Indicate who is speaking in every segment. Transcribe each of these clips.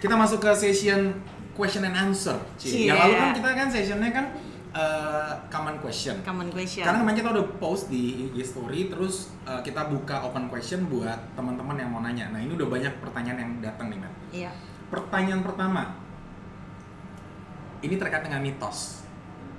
Speaker 1: Kita masuk ke session question and answer. Ci.
Speaker 2: Iya.
Speaker 1: Yang lalu kan kita kan sessionnya kan eh, common question.
Speaker 2: Common question.
Speaker 1: Karena kemarin kita udah post di IG story, terus eh, kita buka open question buat teman-teman yang mau nanya. Nah ini udah banyak pertanyaan yang datang nih, Matt.
Speaker 2: Iya.
Speaker 1: Pertanyaan pertama, ini terkait dengan mitos.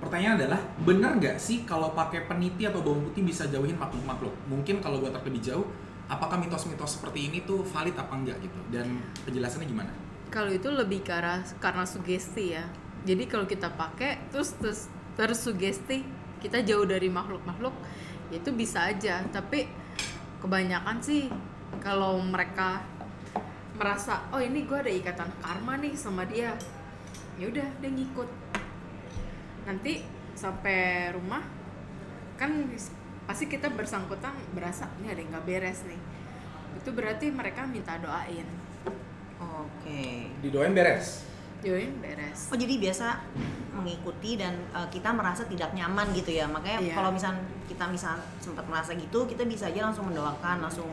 Speaker 1: Pertanyaan adalah, benar nggak sih kalau pakai peniti atau bawang putih bisa jauhin makhluk-makhluk? Mungkin kalau buat lebih jauh, apakah mitos-mitos seperti ini tuh valid apa enggak gitu? Dan penjelasannya gimana?
Speaker 3: Kalau itu lebih ke arah karena sugesti ya. Jadi kalau kita pakai terus terus tersugesti kita jauh dari makhluk-makhluk ya itu bisa aja. Tapi kebanyakan sih kalau mereka merasa oh ini gue ada ikatan karma nih sama dia ya udah dia ngikut nanti sampai rumah kan bis- pasti kita bersangkutan berasa ini ada yang nggak beres nih itu berarti mereka minta doain
Speaker 2: Oke.
Speaker 1: Didoain beres.
Speaker 3: Join beres.
Speaker 2: Oh jadi biasa mengikuti dan uh, kita merasa tidak nyaman gitu ya. Makanya
Speaker 3: Iya.
Speaker 2: kalau misal kita misal sempat merasa gitu, kita bisa aja langsung mendoakan, langsung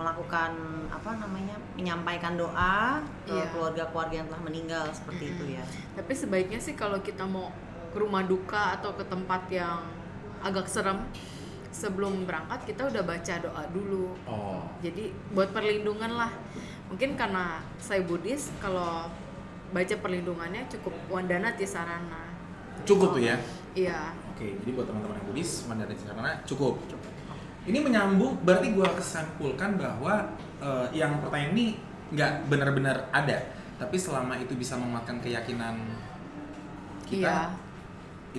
Speaker 2: melakukan apa namanya menyampaikan doa ke
Speaker 3: Iya.
Speaker 2: keluarga-keluarga yang telah meninggal seperti itu ya.
Speaker 3: Tapi sebaiknya sih kalau kita mau ke rumah duka atau ke tempat yang agak serem sebelum berangkat kita udah baca doa dulu.
Speaker 1: Oh.
Speaker 3: Jadi buat perlindungan lah. Mungkin karena saya Buddhis kalau baca perlindungannya cukup wandana tisarana.
Speaker 1: Cukup tuh ya?
Speaker 3: Iya.
Speaker 1: Oke, jadi buat teman-teman yang Buddhis, Mandarin Sarana cukup. Ini menyambung, berarti gua kesampulkan bahwa eh, yang pertanyaan ini nggak benar-benar ada, tapi selama itu bisa menguatkan keyakinan
Speaker 3: Iya.
Speaker 1: kita,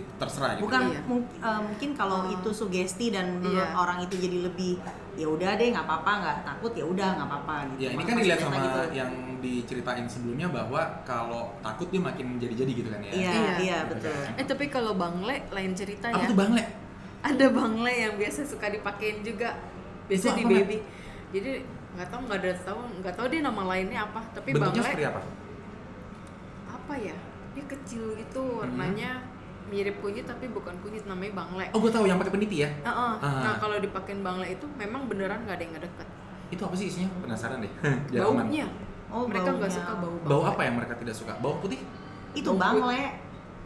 Speaker 1: itu terserah gitu.
Speaker 2: Bukan
Speaker 3: Iya. Oh.
Speaker 2: mung- uh, mungkin kalau itu sugesti dan menurut
Speaker 3: Iya.
Speaker 2: orang itu jadi lebih ya udah deh nggak apa-apa nggak takut ya udah nggak apa-apa gitu.
Speaker 1: Ya ini
Speaker 2: Mak-
Speaker 1: kan dilihat
Speaker 2: maksudnya
Speaker 1: sama
Speaker 2: gitu.
Speaker 1: yang diceritain sebelumnya bahwa kalau takut dia makin jadi-jadi gitu kan ya.
Speaker 2: Iya,
Speaker 3: Iya.
Speaker 2: iya betul.
Speaker 3: Eh tapi kalau Bangle lain cerita
Speaker 1: Apa
Speaker 3: ya.
Speaker 1: tuh Bang Le?
Speaker 3: ada bangle yang biasa suka dipakein juga
Speaker 1: Itu
Speaker 3: biasa di
Speaker 1: apa, Mat?
Speaker 3: baby jadi nggak tahu nggak ada tahu nggak tahu dia nama lainnya apa tapi
Speaker 1: Bentuknya
Speaker 3: bangle
Speaker 1: seperti apa?
Speaker 3: apa ya dia kecil gitu
Speaker 1: Mm-hmm.
Speaker 3: warnanya mirip kunyit tapi bukan kunyit namanya bangle
Speaker 1: Oh gue tahu yang pakai peniti ya.
Speaker 3: Heeh.
Speaker 1: Ah.
Speaker 3: nah kalau dipakein bangle itu memang beneran nggak ada yang ngedeket
Speaker 1: Itu apa sih isinya? Penasaran deh. Jarang banget.
Speaker 3: baunya
Speaker 2: Oh,
Speaker 3: mereka nggak
Speaker 2: baunya.
Speaker 3: suka bau bangle.
Speaker 1: Bau apa yang mereka tidak suka? Bawang putih?
Speaker 2: Itu
Speaker 3: Bau
Speaker 2: bangle.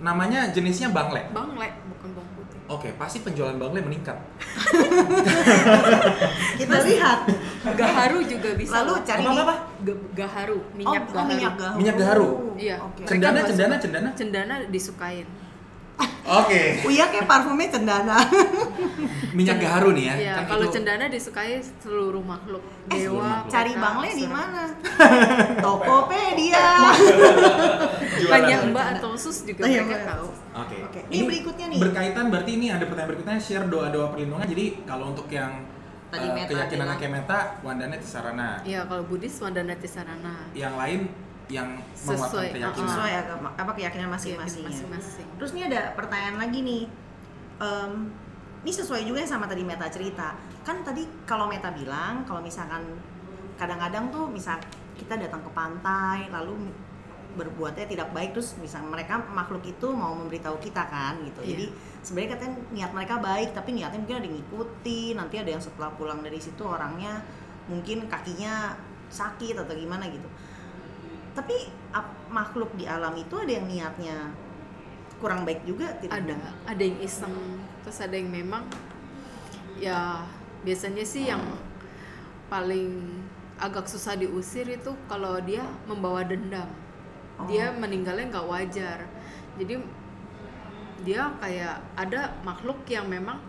Speaker 1: Namanya jenisnya bangle.
Speaker 3: bangle bukan bawang putih
Speaker 1: Oke, pasti penjualan bangle meningkat.
Speaker 2: Kita lihat.
Speaker 3: gaharu juga bisa
Speaker 2: Lalu
Speaker 3: Pak.
Speaker 2: cari
Speaker 1: Apa, apa, apa?
Speaker 3: Ge- gaharu
Speaker 2: Oh,
Speaker 3: minyak
Speaker 2: oh,
Speaker 3: gaharu
Speaker 2: minyak gaharu.
Speaker 1: Minyak gaharu.
Speaker 3: Iya.
Speaker 2: Oke.
Speaker 3: Mereka
Speaker 1: Cendana,
Speaker 3: nggak
Speaker 1: cendana,
Speaker 3: suka.
Speaker 1: cendana.
Speaker 3: cendana disukain
Speaker 1: Oke.
Speaker 2: Uya Oh, iya, kayak parfumnya cendana.
Speaker 1: Minyak gaharu nih ya.
Speaker 3: Iya,
Speaker 1: kan
Speaker 3: kalau
Speaker 1: itu-
Speaker 3: cendana disukai seluruh makhluk.
Speaker 2: Eh,
Speaker 1: seluruh
Speaker 3: Dewa,
Speaker 1: makhluk.
Speaker 2: Cari
Speaker 3: kota,
Speaker 2: bangle di
Speaker 3: surga.
Speaker 2: mana? Tokopedia.
Speaker 1: Jualan.
Speaker 3: Banyak mbak atau sus juga
Speaker 2: Oh, iya,
Speaker 3: mereka
Speaker 2: Mbak.
Speaker 3: tahu.
Speaker 1: Oke.
Speaker 2: Oke, ini berikutnya nih.
Speaker 1: Berkaitan berarti ini ada pertanyaan berikutnya share doa-doa perlindungan. Jadi kalau untuk yang
Speaker 2: Tadi
Speaker 1: eh,
Speaker 2: Meta
Speaker 1: keyakinan
Speaker 2: bilang.
Speaker 1: Akemeta, Wandana Tisarana.
Speaker 3: Iya, kalau Buddhis Wandana Tisarana.
Speaker 1: Yang lain yang menguatkan
Speaker 3: Sesuai, Ah,
Speaker 1: keyakinan.
Speaker 2: Sesuai agama apa keyakinan masing-masingnya.
Speaker 3: Iya, gitu, masing-masing. ya?
Speaker 2: Terus ini ada pertanyaan lagi nih. Em, ini sesuai juga ya sama tadi Meta cerita. Kan tadi kalau Meta bilang kalau misalkan kadang-kadang tuh misal kita datang ke pantai lalu berbuatnya tidak baik terus misal mereka makhluk itu mau memberitahu kita kan gitu.
Speaker 3: Iya.
Speaker 2: Jadi sebenarnya katanya niat mereka baik tapi niatnya mungkin ada yang ngikutin, nanti ada yang setelah pulang dari situ orangnya mungkin kakinya sakit atau gimana gitu. Tapi ap- makhluk di alam itu ada yang niatnya kurang baik juga tidak
Speaker 3: Ada, ada yang iseng, terus ada yang memang ya biasanya sih yang paling agak susah diusir itu kalau dia membawa dendam.
Speaker 2: Oh.
Speaker 3: Dia meninggalnya nggak wajar. Jadi dia kayak ada makhluk yang memang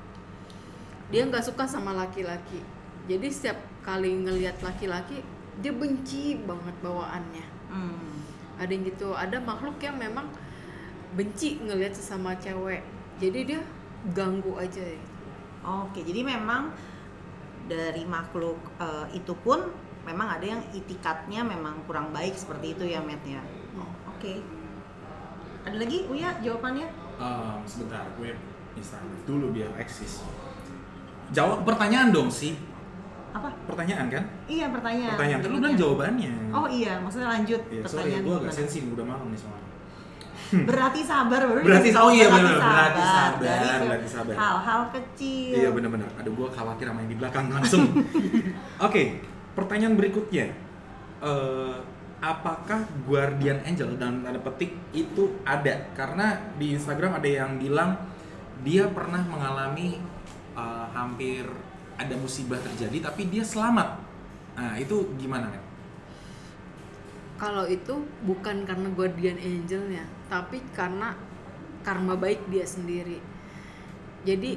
Speaker 3: dia nggak suka sama laki-laki. Jadi setiap kali ngelihat laki-laki dia benci banget bawaannya.
Speaker 2: Hmm.
Speaker 3: ada yang gitu ada makhluk yang memang benci ngelihat sesama cewek jadi dia ganggu aja ya.
Speaker 2: Oke, jadi memang dari makhluk eh, itu pun memang ada yang itikatnya memang kurang baik seperti itu ya, Matt ya.
Speaker 3: Hmm.
Speaker 2: Oke. Ada lagi Uya jawabannya?
Speaker 1: Em, sebentar, gue Instagram dulu biar eksis. Jawab pertanyaan dong sih.
Speaker 2: Apa?
Speaker 1: Pertanyaan kan?
Speaker 2: Iya, pertanyaan.
Speaker 1: Pertanyaan. Terus lu bilang jawabannya.
Speaker 2: Oh iya, maksudnya lanjut
Speaker 1: Iya, sorry,
Speaker 2: pertanyaan
Speaker 1: gue agak
Speaker 2: gimana?
Speaker 1: sensi nih, udah malam nih soalnya.
Speaker 2: Berarti sabar, baru
Speaker 1: Berarti-
Speaker 2: dikasih tahu
Speaker 1: oh iya,
Speaker 2: berarti
Speaker 1: bener, berarti sabar,
Speaker 2: Dari
Speaker 1: berarti sabar.
Speaker 2: Hal-hal kecil.
Speaker 1: Iya benar-benar. Aduh gua khawatir sama yang di belakang langsung. Oke, pertanyaan berikutnya. Eh apakah guardian angel dalam tanda petik itu ada karena di Instagram ada yang bilang dia pernah mengalami uh, hampir ada musibah terjadi tapi dia selamat nah itu gimana men
Speaker 3: Kalau itu bukan karena guardian angelnya, tapi karena karma baik dia sendiri. Jadi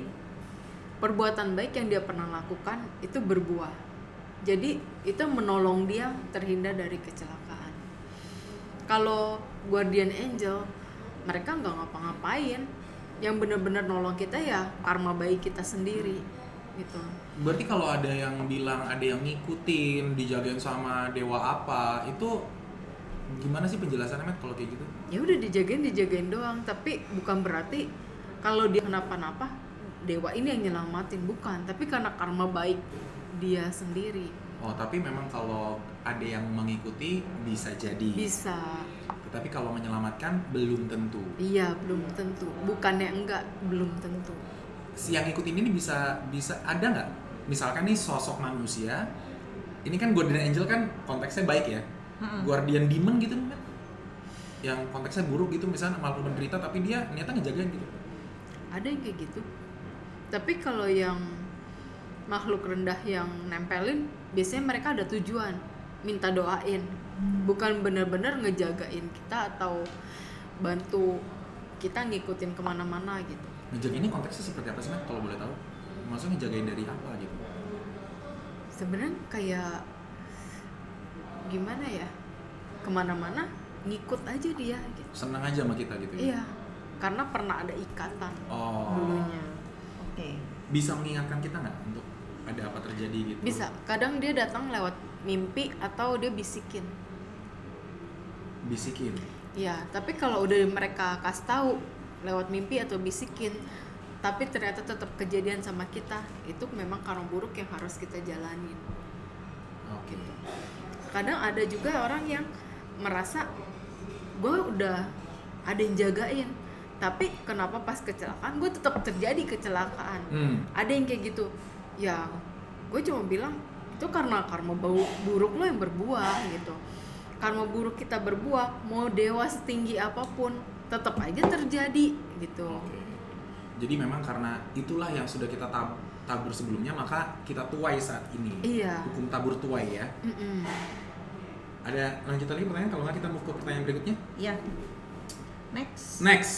Speaker 3: perbuatan baik yang dia pernah lakukan itu berbuah. Jadi itu menolong dia terhindar dari kecelakaan. Kalau guardian angel mereka nggak ngapa-ngapain, yang benar-benar nolong kita ya karma baik kita sendiri gitu.
Speaker 1: berarti kalau ada yang bilang ada yang ngikutin dijagain sama dewa apa itu gimana sih penjelasannya men kalau kayak gitu
Speaker 3: Ya udah dijagain dijagain doang, tapi bukan berarti kalau dia kenapa-napa dewa ini yang nyelamatin bukan, tapi karena karma baik dia sendiri
Speaker 1: oh tapi memang kalau ada yang mengikuti bisa jadi
Speaker 3: bisa
Speaker 1: tapi kalau menyelamatkan belum tentu
Speaker 3: iya belum tentu bukannya enggak belum tentu
Speaker 1: si yang ngikutin ini bisa bisa ada nggak misalkan nih sosok manusia ini kan guardian angel kan konteksnya baik ya guardian demon gitu men yang konteksnya buruk gitu misalnya makhluk menderita tapi dia ternyata ngejagain gitu
Speaker 3: ada yang kayak gitu tapi kalau yang makhluk rendah yang nempelin biasanya mereka ada tujuan minta doain bukan benar-benar ngejagain kita atau bantu kita ngikutin kemana-mana gitu
Speaker 1: ngejagain ini konteksnya seperti apa sih men kalau boleh tahu maksudnya ngejagain dari apa gitu
Speaker 3: sebenarnya kayak gimana ya kemana-mana ngikut aja dia gitu
Speaker 1: seneng aja sama kita gitu ya
Speaker 3: iya Hmm. karena pernah ada ikatan
Speaker 1: oh
Speaker 2: dulunya oke
Speaker 1: bisa mengingatkan kita nggak untuk ada apa terjadi gitu
Speaker 3: bisa kadang dia datang lewat mimpi atau dia bisikin
Speaker 1: bisikin
Speaker 3: ya tapi kalau udah mereka kasih tahu lewat mimpi atau bisikin tapi ternyata tetap kejadian sama kita itu memang karma buruk yang harus kita jalanin
Speaker 1: oke
Speaker 3: kadang ada juga orang yang merasa gue udah ada yang jagain tapi kenapa pas kecelakaan gue tetap terjadi kecelakaan
Speaker 1: hmm
Speaker 3: ada yang kayak gitu ya gue cuma bilang itu karena karma bau- buruk lo yang berbuah gitu karma buruk kita berbuah mau dewa setinggi apapun tetap aja terjadi gitu
Speaker 1: Oke. Jadi memang karena itulah yang sudah kita tab- tabur sebelumnya, maka kita tuai saat ini.
Speaker 3: iya
Speaker 1: Hukum tabur tuai ya.
Speaker 3: Mm-mm.
Speaker 1: Ada lanjut lagi pertanyaan, kalau nggak kita move ke pertanyaan berikutnya.
Speaker 2: Iya. Next.
Speaker 1: Next.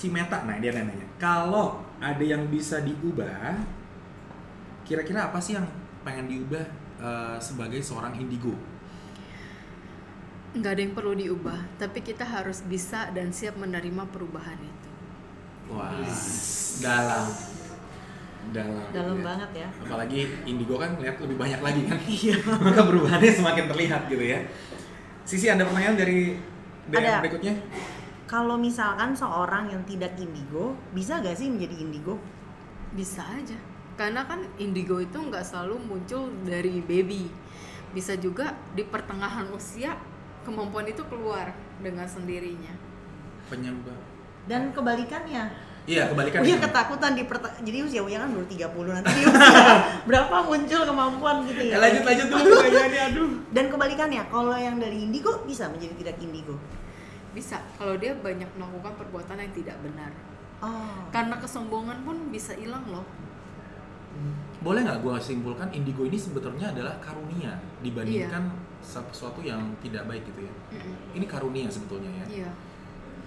Speaker 1: Cimeta, nah dia nanya. Kalau ada yang bisa diubah, kira-kira apa sih yang pengen diubah eh, sebagai seorang indigo?
Speaker 3: nggak ada yang perlu diubah tapi kita harus bisa dan siap menerima perubahan itu
Speaker 1: Wah, dalam. Dalam.
Speaker 2: Dalam
Speaker 1: ya.
Speaker 2: banget ya.
Speaker 1: apalagi indigo kan lihat lebih banyak lagi kan iya maka perubahannya semakin terlihat gitu ya sisi ada pertanyaan dari DM
Speaker 2: Ada.
Speaker 1: berikutnya
Speaker 2: Kalau misalkan seorang yang tidak indigo, bisa gak sih menjadi indigo?
Speaker 3: bisa aja karena kan indigo itu nggak selalu muncul dari baby bisa juga di pertengahan usia kemampuan itu keluar dengan sendirinya
Speaker 1: penyebab
Speaker 2: Dan kebalikannya,
Speaker 1: iya kebalikan ya.
Speaker 2: dia ketakutan di perte- jadi usia usia kan baru 30 nanti di usia berapa muncul kemampuan gitu
Speaker 1: Eh,
Speaker 2: ya.
Speaker 1: lanjut lanjut dulu pertanyaannya aduh
Speaker 2: Dan kebalikannya, kalau yang dari indigo bisa menjadi tidak indigo.
Speaker 3: bisa kalau dia banyak melakukan perbuatan yang tidak benar
Speaker 2: Oh.
Speaker 3: karena kesombongan pun bisa hilang loh
Speaker 2: Hmm.
Speaker 1: boleh nggak gue simpulkan indigo ini sebetulnya adalah karunia dibandingkan
Speaker 2: Iya.
Speaker 1: sesuatu yang tidak baik gitu ya
Speaker 3: Mm-mm.
Speaker 1: ini karunia sebetulnya ya
Speaker 3: iya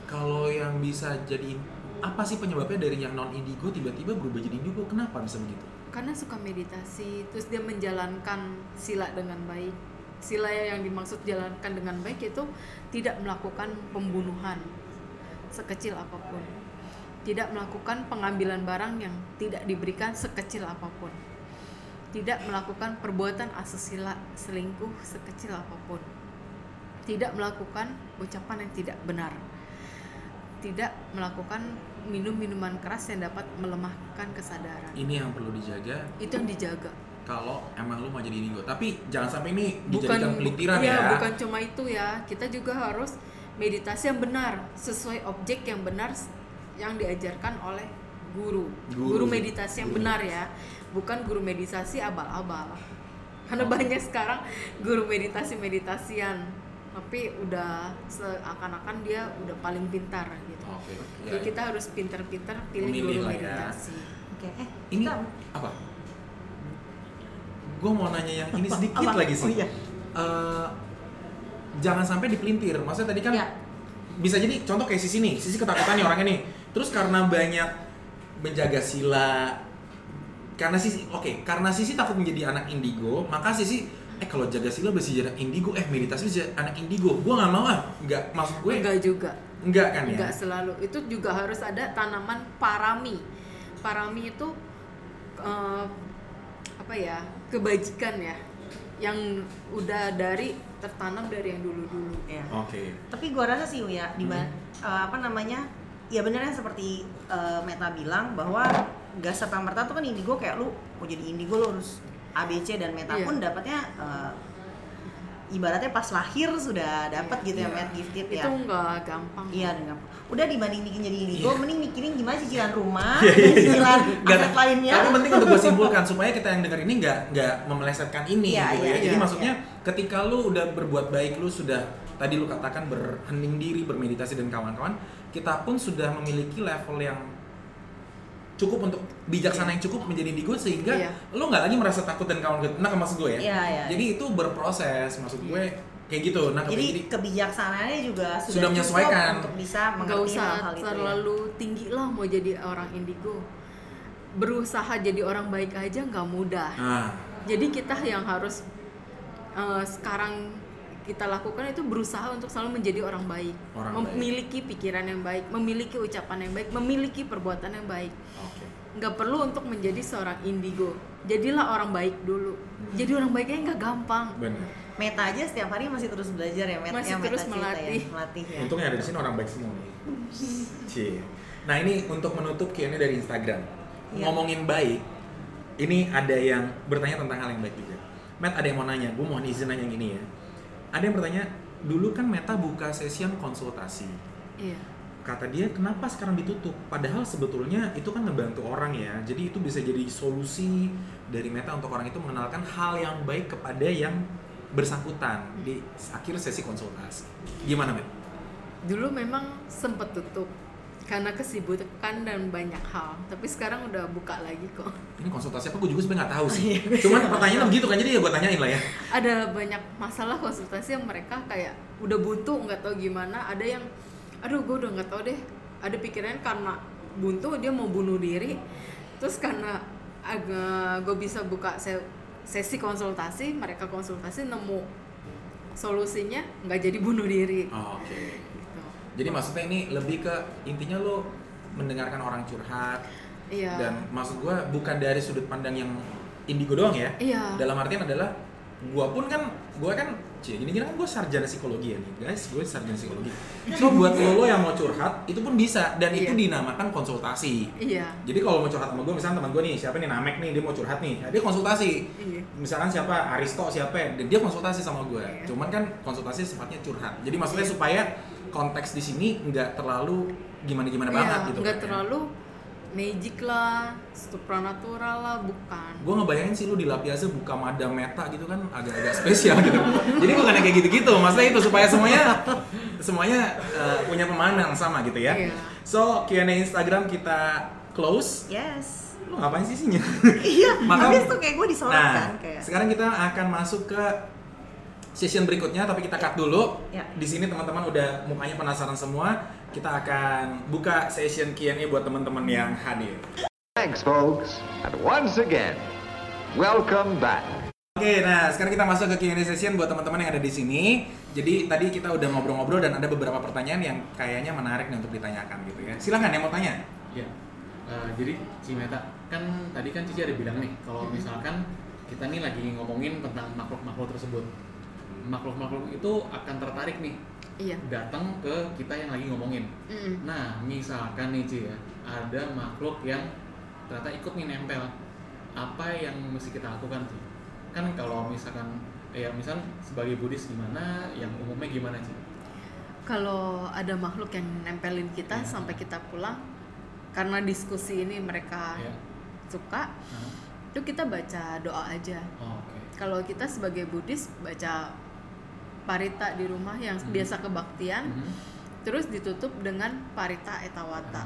Speaker 1: kalau yang bisa jadi apa sih penyebabnya dari yang non indigo tiba-tiba berubah jadi indigo kenapa bisa begitu
Speaker 3: karena suka meditasi terus dia menjalankan sila dengan baik sila yang dimaksud jalankan dengan baik itu tidak melakukan pembunuhan sekecil apapun tidak melakukan pengambilan barang yang tidak diberikan sekecil apapun tidak melakukan perbuatan asusila selingkuh sekecil apapun tidak melakukan ucapan yang tidak benar tidak melakukan minum minuman keras yang dapat melemahkan kesadaran
Speaker 1: ini yang perlu dijaga
Speaker 3: itu yang dijaga
Speaker 1: kalau emang lu mau jadi indigo tapi jangan sampai ini dijadikan
Speaker 3: bukan
Speaker 1: pelintiran
Speaker 3: iya,
Speaker 1: ya,
Speaker 3: bukan cuma itu ya kita juga harus meditasi yang benar sesuai objek yang benar s- yang diajarkan oleh guru
Speaker 1: Guru.
Speaker 3: meditasi yang
Speaker 1: Guru.
Speaker 3: benar ya bukan guru meditasi abal-abal karena banyak sekarang guru meditasi meditasian tapi udah seakan-akan dia udah paling pintar gitu
Speaker 1: Oke. ya.
Speaker 3: jadi kita harus pintar-pintar pilih
Speaker 1: Memilih
Speaker 3: guru
Speaker 1: lah ya.
Speaker 3: meditasi
Speaker 2: Oke, eh
Speaker 1: Ini
Speaker 2: kita-
Speaker 1: apa? Gue mau nanya yang ini sedikit
Speaker 2: Apa?
Speaker 1: lagi sih.
Speaker 2: Oh, iya.
Speaker 1: Eh, jangan sampai dipelintir. Maksudnya tadi kan
Speaker 2: Iya.
Speaker 1: bisa jadi contoh kayak sisi nih, sisi ketakutan nih orangnya nih. Terus karena banyak menjaga sila karena sisi oke, karena sisi takut menjadi anak indigo, maka sisi eh kalau jaga sila bisa jadi anak indigo, eh meditasi bisa jadi anak indigo. Gua nggak mau ah, nggak maksud gue
Speaker 3: enggak juga
Speaker 1: enggak kan ya?
Speaker 2: Iya.
Speaker 3: enggak selalu itu juga harus ada tanaman parami parami itu eh, apa ya kebajikan ya yang udah dari tertanam dari yang dulu-dulu
Speaker 2: Iya.
Speaker 1: Oke.
Speaker 2: Tapi gua rasa sih ya di ba-
Speaker 1: Hmm.
Speaker 2: eh, apa namanya? Ya beneran seperti eh, Meta bilang bahwa gak serta merta tuh kan indigo kayak lu mau jadi indigo lu harus ABC dan Meta
Speaker 3: Iya.
Speaker 2: pun dapatnya eh, ibaratnya pas lahir sudah dapat gitu
Speaker 1: Iya.
Speaker 2: ya Met gifted ya.
Speaker 3: itu enggak gampang
Speaker 2: Iya, dengan udah dibanding bikin jadi
Speaker 1: Iya.
Speaker 2: indigo, mending mikirin gimana cicilan rumah,
Speaker 1: Iya, iya, iya.
Speaker 2: cicilan
Speaker 1: Nggak,
Speaker 2: aset lainnya.
Speaker 1: Tapi penting untuk gue simpulkan supaya kita yang denger ini nggak nggak memelesetkan ini
Speaker 2: Iya,
Speaker 1: gitu
Speaker 2: iya,
Speaker 1: ya. Jadi
Speaker 3: iya,
Speaker 1: maksudnya ketika lu udah berbuat baik, lu sudah tadi lu katakan berhening diri, bermeditasi dan kawan-kawan, kita pun sudah memiliki level yang cukup untuk bijaksana yang cukup menjadi indigo sehingga
Speaker 3: Iya.
Speaker 1: lu nggak lagi merasa takut dan kawan Nah, maksud gue ya.
Speaker 2: Iya, iya.
Speaker 1: Jadi itu berproses maksud gue kayak gitu. Nah,
Speaker 2: Jadi
Speaker 1: jadi
Speaker 2: kebijaksanaannya juga sudah,
Speaker 1: Sudah
Speaker 2: cukup
Speaker 1: menyesuaikan.
Speaker 2: untuk bisa
Speaker 3: nggak
Speaker 2: mengerti hal-hal
Speaker 3: usah
Speaker 2: itu. ya.
Speaker 3: terlalu tinggi lah mau jadi orang indigo berusaha jadi orang baik aja nggak mudah
Speaker 1: nah,
Speaker 3: jadi kita yang harus eh, sekarang kita lakukan itu berusaha untuk selalu menjadi orang baik
Speaker 1: Orang baik.
Speaker 3: memiliki pikiran yang baik memiliki ucapan yang baik memiliki perbuatan yang baik
Speaker 1: oke.
Speaker 3: nggak perlu untuk menjadi seorang indigo jadilah orang baik dulu
Speaker 1: Hmm.
Speaker 3: jadi orang baiknya nggak gampang
Speaker 1: Benar.
Speaker 2: Meta aja setiap hari masih terus belajar ya, Met,
Speaker 3: Masih
Speaker 2: ya,
Speaker 3: terus
Speaker 2: Meta cerita
Speaker 3: melatih.
Speaker 2: ya, melatih ya.
Speaker 1: Untung yang ada di sini orang baik semua nih. Cie. Nah ini untuk menutup Q&A dari Instagram.
Speaker 2: Iya.
Speaker 1: Ngomongin baik, ini ada yang bertanya tentang hal yang baik juga. Matt ada yang mau nanya, gue mohon izin nanya yang ini ya. Ada yang bertanya, dulu kan Meta buka session konsultasi.
Speaker 3: iya
Speaker 1: Kata dia, kenapa sekarang ditutup? Padahal sebetulnya itu kan ngebantu orang ya. Jadi itu bisa jadi solusi dari Meta untuk orang itu mengenalkan hal yang baik kepada yang bersangkutan di akhir sesi konsultasi. Gimana, Matt?
Speaker 3: dulu memang sempet tutup karena kesibukan dan banyak hal tapi sekarang udah buka lagi kok
Speaker 1: ini konsultasi apa gue juga sebenarnya nggak tahu sih
Speaker 3: Iya,
Speaker 1: cuman pertanyaannya begitu kan jadi ya gue tanyain lah ya
Speaker 3: ada banyak masalah konsultasi yang mereka kayak udah buntu nggak tahu gimana ada yang aduh gue udah nggak tahu deh ada pikiran karena buntu dia mau bunuh diri terus karena agak gue bisa buka se- sesi konsultasi mereka konsultasi nemu solusinya nggak jadi bunuh diri
Speaker 1: oh, oke
Speaker 3: gitu
Speaker 1: jadi maksudnya ini lebih ke intinya lo mendengarkan orang curhat
Speaker 3: iya
Speaker 1: dan maksud gue bukan dari sudut pandang yang indigo doang ya
Speaker 3: iya
Speaker 1: dalam artian adalah gue pun kan gue kan cie gini gini kan gue sarjana psikologi ya nih guys gue sarjana psikologi so buat lo lo yang mau curhat itu pun bisa dan itu
Speaker 3: Iya.
Speaker 1: dinamakan konsultasi
Speaker 3: iya
Speaker 1: jadi kalau mau curhat sama gue misalnya teman gue nih siapa nih Namek nih dia mau curhat nih Nah, dia konsultasi
Speaker 3: iya
Speaker 1: misalkan siapa Aristo siapa ya, dan dia konsultasi sama gue
Speaker 3: Iya.
Speaker 1: cuman kan konsultasi sifatnya curhat jadi maksudnya
Speaker 3: Iya.
Speaker 1: supaya konteks di sini nggak terlalu gimana gimana
Speaker 3: Iya,
Speaker 1: banget gitu kan
Speaker 3: nggak
Speaker 1: ya.
Speaker 3: terlalu magic lah supranatural lah bukan
Speaker 1: gue ngebayangin sih lu di Lapiazza buka madam meta gitu kan agak-agak spesial gitu jadi bukan kayak gitu-gitu maksudnya itu supaya semuanya semuanya eh, punya pemandangan sama gitu ya
Speaker 3: Iya.
Speaker 1: so Q&A Instagram kita close
Speaker 2: Yes.
Speaker 1: lu ngapain sih isinya
Speaker 2: Iya,
Speaker 1: Maka-
Speaker 2: habis tuh kayak gue disorot
Speaker 1: Nah,
Speaker 2: kan kayak.
Speaker 1: sekarang kita akan masuk ke session berikutnya, tapi kita cut dulu.
Speaker 2: Ya.
Speaker 1: Di sini teman-teman udah mukanya penasaran semua. Kita akan buka session Q&A buat teman-teman yang hadir.
Speaker 4: Thanks, folks. And once again, welcome back.
Speaker 1: Oke, nah sekarang kita masuk ke Q&A session buat teman-teman yang ada di sini. Jadi tadi kita udah ngobrol-ngobrol dan ada beberapa pertanyaan yang kayaknya menarik nih untuk ditanyakan gitu ya. Silakan yang mau tanya.
Speaker 5: Iya. Eh, jadi si Meta kan tadi kan Cici ada bilang nih kalau misalkan kita nih lagi ngomongin tentang makhluk-makhluk tersebut. Makhluk-makhluk itu akan tertarik nih
Speaker 3: iya
Speaker 5: datang ke kita yang lagi ngomongin.
Speaker 3: Mm.
Speaker 5: Nah, misalkan nih Ci ya, ada makhluk yang ternyata ikut nih nempel. Apa yang mesti kita lakukan Ci? Kan kalau misalkan ya misal sebagai Buddhis gimana, yang umumnya gimana Ci?
Speaker 3: kalau ada makhluk yang nempelin kita
Speaker 5: Iya.
Speaker 3: sampai kita pulang karena diskusi ini mereka
Speaker 5: Ya.
Speaker 3: suka
Speaker 5: Hah?
Speaker 3: itu kita baca doa aja
Speaker 5: Oh, Oke.
Speaker 3: kalau kita sebagai Buddhis baca parita di rumah yang
Speaker 5: Hmm.
Speaker 3: biasa kebaktian
Speaker 5: Mhm.
Speaker 3: terus ditutup dengan parita
Speaker 5: Ah.
Speaker 3: etawata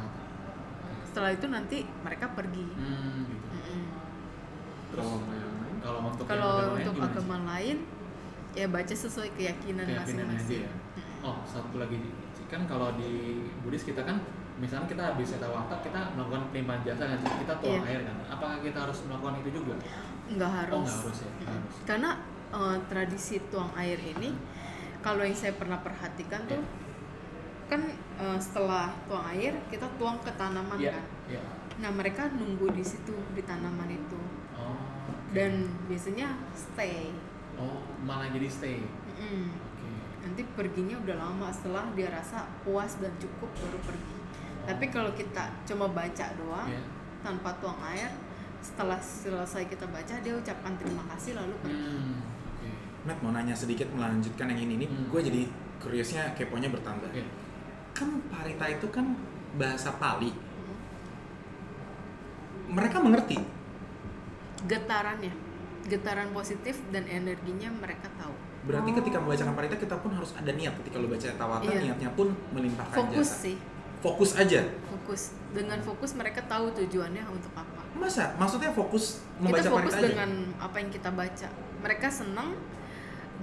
Speaker 3: setelah itu nanti mereka pergi
Speaker 5: Hmm, gitu.
Speaker 3: Mm-mm.
Speaker 5: Terus
Speaker 1: Kalau yang lain?
Speaker 5: kalau untuk yang
Speaker 3: kalau
Speaker 5: agama lain
Speaker 3: untuk
Speaker 5: gimana sih?
Speaker 3: agama lain ya baca sesuai keyakinan
Speaker 5: keyakinan aja
Speaker 3: masing-masing
Speaker 5: ya. Oh, satu lagi kan kalau di Buddhis kita kan misalnya kita habis etawata kita melakukan pelimpahan jasa kan kita tuang
Speaker 3: Iya.
Speaker 5: air kan. Apakah kita harus melakukan itu juga?
Speaker 3: nggak harus,
Speaker 5: Oh, nggak harus ya. nggak
Speaker 3: Mm-mm.
Speaker 5: harus.
Speaker 3: karena eh, tradisi tuang air ini kalau yang saya pernah perhatikan tuh
Speaker 5: Iya.
Speaker 3: kan eh, setelah tuang air kita tuang ke tanaman
Speaker 5: Iya.
Speaker 3: kan
Speaker 5: Iya.
Speaker 3: nah mereka nunggu di situ di tanaman itu
Speaker 5: Oh.
Speaker 3: dan biasanya stay
Speaker 5: Oh, malah jadi stay. Oke.
Speaker 3: Mm-mm. nanti perginya udah lama setelah dia rasa puas dan cukup baru pergi tapi kalau kita cuma baca doang
Speaker 5: Oh. Iya.
Speaker 3: tanpa tuang air setelah selesai kita baca dia ucapkan terima kasih lalu pergi
Speaker 5: Hmm. Oke.
Speaker 1: Matt mau nanya sedikit melanjutkan yang ini nih.
Speaker 5: Hmm.
Speaker 1: Gue jadi curious-nya, keponya bertambah.
Speaker 5: Iya.
Speaker 1: Kan parita itu kan bahasa Pali.
Speaker 3: Hmm.
Speaker 1: Mereka mengerti.
Speaker 3: getarannya getaran positif dan energinya mereka tahu
Speaker 1: Berarti ketika membacakan parita kita pun harus ada niat. Ketika lo baca tawatan,
Speaker 3: Oh. Iya.
Speaker 1: niatnya pun melimpahkan
Speaker 3: fokus
Speaker 1: jasa.
Speaker 3: sih
Speaker 1: Fokus aja.
Speaker 3: fokus dengan fokus mereka tahu tujuannya untuk apa
Speaker 1: Masa? Maksudnya fokus membaca
Speaker 3: kita fokus
Speaker 1: parita aja?
Speaker 3: dengan apa yang kita baca mereka senang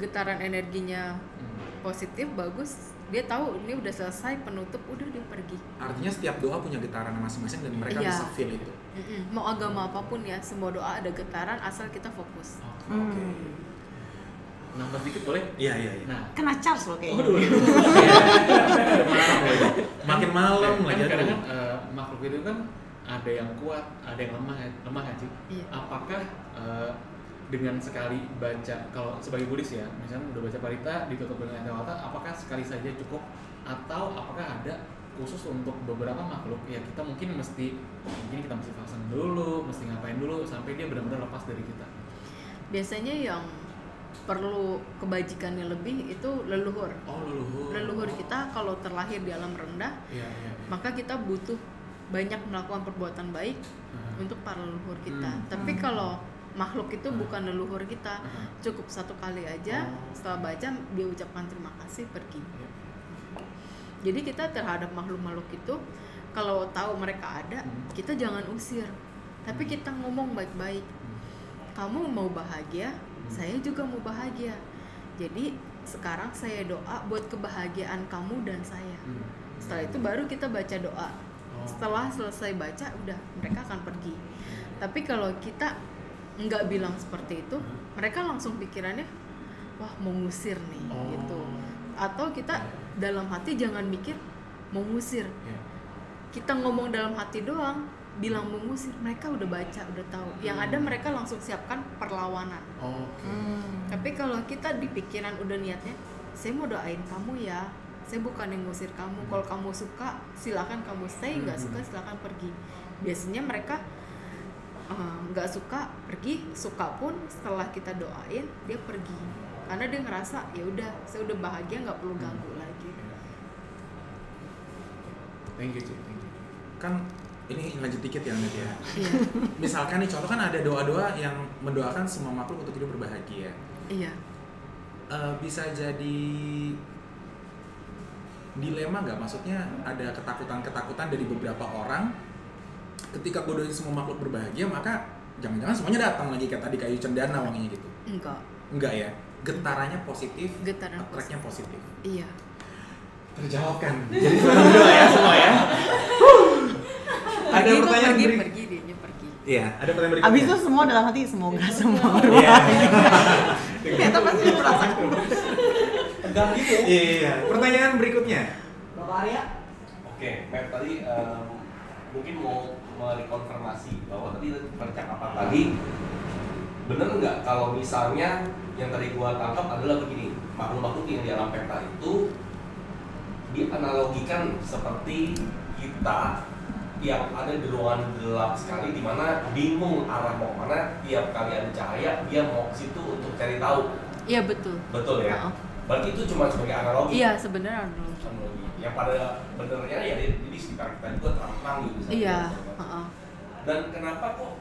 Speaker 3: getaran energinya
Speaker 5: Hmm.
Speaker 3: positif bagus dia tahu ini udah selesai penutup udah dia pergi
Speaker 1: Artinya setiap doa punya getaran masing-masing dan mereka
Speaker 3: Iya.
Speaker 1: bisa feel itu.
Speaker 3: Mm-mm. mau agama apapun ya semua doa ada getaran asal kita fokus
Speaker 5: Oke.
Speaker 2: Hmm.
Speaker 5: Nambah dikit boleh?
Speaker 1: Iya, iya, iya.
Speaker 5: Nah,
Speaker 2: Kena charge
Speaker 1: Oh,
Speaker 2: loh kayaknya.
Speaker 5: Waduh.
Speaker 1: Makin malam
Speaker 5: Kan
Speaker 1: lagi
Speaker 5: kadang
Speaker 1: aduh.
Speaker 5: kan eh, makhluk itu kan ada yang kuat, ada yang lemah, ya- lemah kan sih.
Speaker 3: Iya.
Speaker 5: Apakah eh, dengan sekali baca kalau sebagai Buddhis ya, misalnya udah baca parita ditutup dengan etawata, apakah sekali saja cukup atau apakah ada khusus untuk beberapa makhluk ya kita mungkin mesti mungkin kita mesti pasang dulu, mesti ngapain dulu sampai dia benar-benar lepas dari kita.
Speaker 3: biasanya yang perlu kebajikannya lebih itu leluhur
Speaker 5: Oh leluhur.
Speaker 3: leluhur kita kalau terlahir di alam rendah
Speaker 5: Iya iya. iya.
Speaker 3: maka kita butuh banyak melakukan perbuatan baik
Speaker 5: Aha.
Speaker 3: untuk para leluhur kita
Speaker 5: Hmm.
Speaker 3: tapi
Speaker 2: Hmm.
Speaker 3: kalau makhluk itu
Speaker 5: Hmm.
Speaker 3: bukan leluhur kita
Speaker 5: Aha.
Speaker 3: cukup satu kali aja
Speaker 5: Oh.
Speaker 3: setelah baca dia ucapkan terima kasih pergi
Speaker 5: Iya.
Speaker 3: Jadi kita terhadap makhluk-makhluk itu kalau tahu mereka ada,
Speaker 5: Hmm.
Speaker 3: kita jangan usir. Tapi
Speaker 5: Hmm.
Speaker 3: kita ngomong baik-baik. Kamu mau bahagia,
Speaker 5: Hmm.
Speaker 3: saya juga mau bahagia. Jadi sekarang saya doa buat kebahagiaan kamu dan saya.
Speaker 5: Hmm.
Speaker 3: Setelah itu baru kita baca doa.
Speaker 5: Oh.
Speaker 3: Setelah selesai baca, udah mereka akan pergi. Tapi kalau kita nggak bilang seperti itu,
Speaker 5: Hmm.
Speaker 3: mereka langsung pikirannya, wah mau ngusir nih
Speaker 5: Oh.
Speaker 3: gitu. Atau kita dalam hati jangan mikir mau ngusir.
Speaker 5: Iya.
Speaker 3: Kita ngomong dalam hati doang, bilang mau ngusir, mereka udah baca, udah tahu. Yang ada
Speaker 5: Hmm.
Speaker 3: mereka langsung siapkan perlawanan.
Speaker 5: Oh, Oke.
Speaker 3: Hmm.
Speaker 2: Hmm.
Speaker 3: Tapi kalau kita di pikiran udah niatnya, saya mau doain kamu ya. Saya bukan yang ngusir kamu. Kalau kamu suka, silakan kamu stay. Nggak suka, silakan pergi. Biasanya mereka eh, nggak suka pergi, suka pun setelah kita doain dia pergi. Karena dia ngerasa ya udah, saya udah bahagia, nggak perlu ganggu lagi.
Speaker 5: Thank you, Ci. Thank you.
Speaker 1: Kan ini lanjut dikit ya, Nat ya.
Speaker 3: Iya,
Speaker 1: Misalkan nih contoh kan ada doa-doa yang mendoakan semua makhluk untuk hidup berbahagia.
Speaker 3: iya.
Speaker 1: Eh, bisa jadi dilema nggak? Maksudnya ada ketakutan-ketakutan dari beberapa orang. Ketika gue doain semua makhluk berbahagia, maka jangan-jangan semuanya datang lagi kayak tadi kayu cendana wanginya gitu.
Speaker 3: Enggak,
Speaker 1: Enggak ya? Getarannya positif,
Speaker 3: getaran positif.
Speaker 1: attract-nya positif.
Speaker 3: Iya.
Speaker 1: Terjawabkan. Jadi sekarang berdua ya semua ya. ada
Speaker 3: Pergi kok,
Speaker 1: pertanyaan
Speaker 3: pergi,
Speaker 1: beri-
Speaker 3: pergi, dianya pergi.
Speaker 1: Iya, ada pertanyaan berikutnya.
Speaker 2: Abis itu semua dalam hati semoga semua.
Speaker 1: Iya. gitu.
Speaker 2: Ternyata pasti dia merasakan.
Speaker 1: Iya, pertanyaan berikutnya.
Speaker 6: Bapak Arya? Oke, Map tadi em, mungkin mau merekonfirmasi bahwa tadi percakapan tadi bener nggak kalau misalnya yang tadi gua tangkap adalah begini makhluk-makhluk yang di alam peta itu dianalogikan seperti kita yang ada di ruangan gelap sekali di mana bingung arah mau mana tiap kali ada cahaya dia mau ke situ untuk cari tahu
Speaker 3: Iya betul.
Speaker 6: betul ya
Speaker 3: Maaf.
Speaker 6: berarti itu cuma sebagai analogi
Speaker 3: Iya sebenarnya Arnold.
Speaker 6: teknologi yang pada benernya ya di, di sekitar kita juga terang gitu
Speaker 3: Iya.
Speaker 6: misalnya.
Speaker 3: heeh.
Speaker 6: dan kenapa kok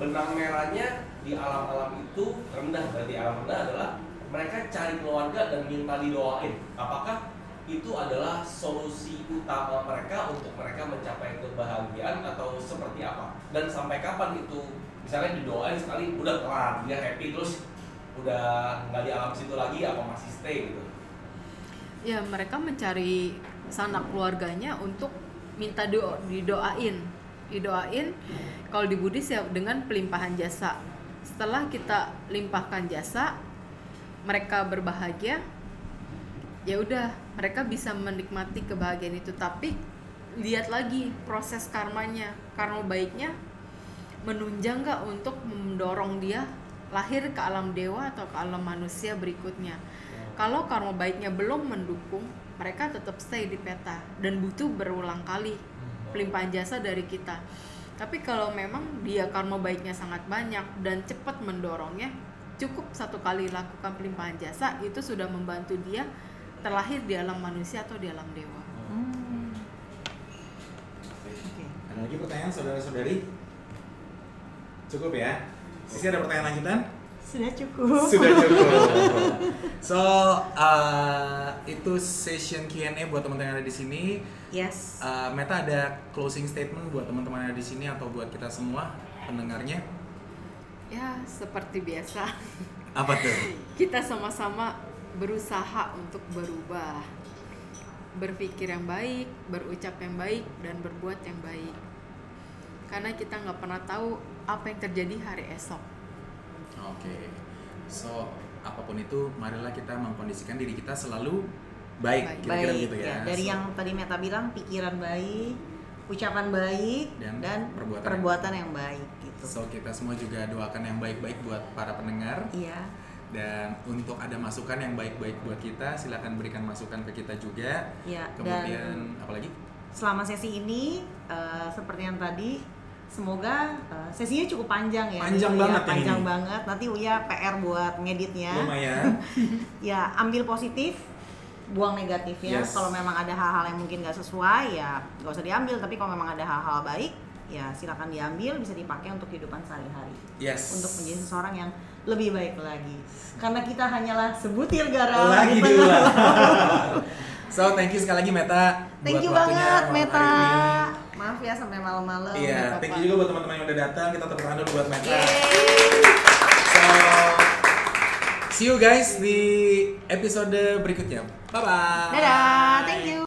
Speaker 6: benang merahnya di alam-alam itu rendah berarti alam rendah adalah mereka cari keluarga dan minta didoain. Apakah itu adalah solusi utama mereka untuk mereka mencapai kebahagiaan atau seperti apa? Dan sampai kapan itu misalnya didoain sekali udah kelar dia happy terus udah nggak di alam situ lagi apa masih stay gitu?
Speaker 3: ya mereka mencari sanak keluarganya untuk minta do didoain didoain kalau di Budis ya dengan pelimpahan jasa setelah kita limpahkan jasa mereka berbahagia ya udah mereka bisa menikmati kebahagiaan itu tapi lihat lagi proses karmanya karma baiknya menunjang nggak untuk mendorong dia lahir ke alam dewa atau ke alam manusia berikutnya kalau karma baiknya belum mendukung, mereka tetap stay di peta dan butuh berulang kali pelimpahan jasa dari kita. Tapi kalau memang dia karma baiknya sangat banyak dan cepat mendorongnya, cukup satu kali lakukan pelimpahan jasa itu sudah membantu dia terlahir di alam manusia atau di alam dewa.
Speaker 2: Hmm. Oke.
Speaker 1: Ada lagi pertanyaan saudara-saudari? Cukup ya. Sisi ada pertanyaan lanjutan?
Speaker 2: Sudah cukup.
Speaker 1: Sudah cukup. so, uh, itu session Q&A buat teman-teman yang ada di sini.
Speaker 2: Yes.
Speaker 1: Uh, Meta ada closing statement buat teman-teman yang ada di sini atau buat kita semua pendengarnya?
Speaker 3: Ya, seperti biasa,
Speaker 1: Apa tuh?
Speaker 3: kita sama-sama berusaha untuk berubah. Berpikir yang baik, berucap yang baik, dan berbuat yang baik. Karena kita nggak pernah tahu apa yang terjadi hari esok.
Speaker 1: Oke. So, apapun itu, marilah kita mengkondisikan diri kita selalu baik.
Speaker 3: Baik.
Speaker 1: Kira-kira
Speaker 2: baik
Speaker 1: gitu ya.
Speaker 2: ya. Dari
Speaker 1: So,
Speaker 2: yang tadi Meta bilang pikiran baik, ucapan baik
Speaker 1: Dan
Speaker 2: dan,
Speaker 1: perbuatan.
Speaker 2: perbuatan. yang baik gitu.
Speaker 1: So, kita semua juga doakan yang baik-baik buat para pendengar.
Speaker 2: Iya.
Speaker 1: Dan untuk ada masukan yang baik-baik buat kita, silahkan berikan masukan ke kita juga.
Speaker 2: Iya,
Speaker 1: Kemudian, apalagi?
Speaker 2: Selama sesi ini eh, seperti yang tadi semoga eh, sesinya cup panjang ya.
Speaker 1: Panjang
Speaker 2: Iya,
Speaker 1: banget yang
Speaker 2: panjang
Speaker 1: ini.
Speaker 2: banget. Nanti Uya PR buat ngeditnya.
Speaker 1: Lumayan.
Speaker 2: ya ambil positif buang negatifnya
Speaker 1: Yes.
Speaker 2: kalau memang ada hal-hal yang mungkin nggak sesuai ya nggak usah diambil tapi kalau memang ada hal-hal baik ya silakan diambil bisa dipakai untuk kehidupan sehari-hari
Speaker 1: Yes.
Speaker 2: untuk menjadi seseorang yang lebih baik lagi karena kita hanyalah sebutir garam
Speaker 1: lagi
Speaker 2: di tengah
Speaker 1: dua. so, thank you sekali lagi Meta.
Speaker 2: thank
Speaker 1: buat
Speaker 2: you
Speaker 1: waktunya
Speaker 2: banget
Speaker 1: malam
Speaker 2: Meta
Speaker 1: hari ini.
Speaker 2: maaf ya sampai malam-malam
Speaker 1: Iya,
Speaker 2: nggak
Speaker 1: thank
Speaker 2: apa-apa.
Speaker 1: you juga buat teman-teman yang udah datang. Kita tepuk tangan dulu buat Meta.
Speaker 2: Yeay.
Speaker 1: So, see you guys di episode berikutnya. Bye bye.
Speaker 2: dadah thank you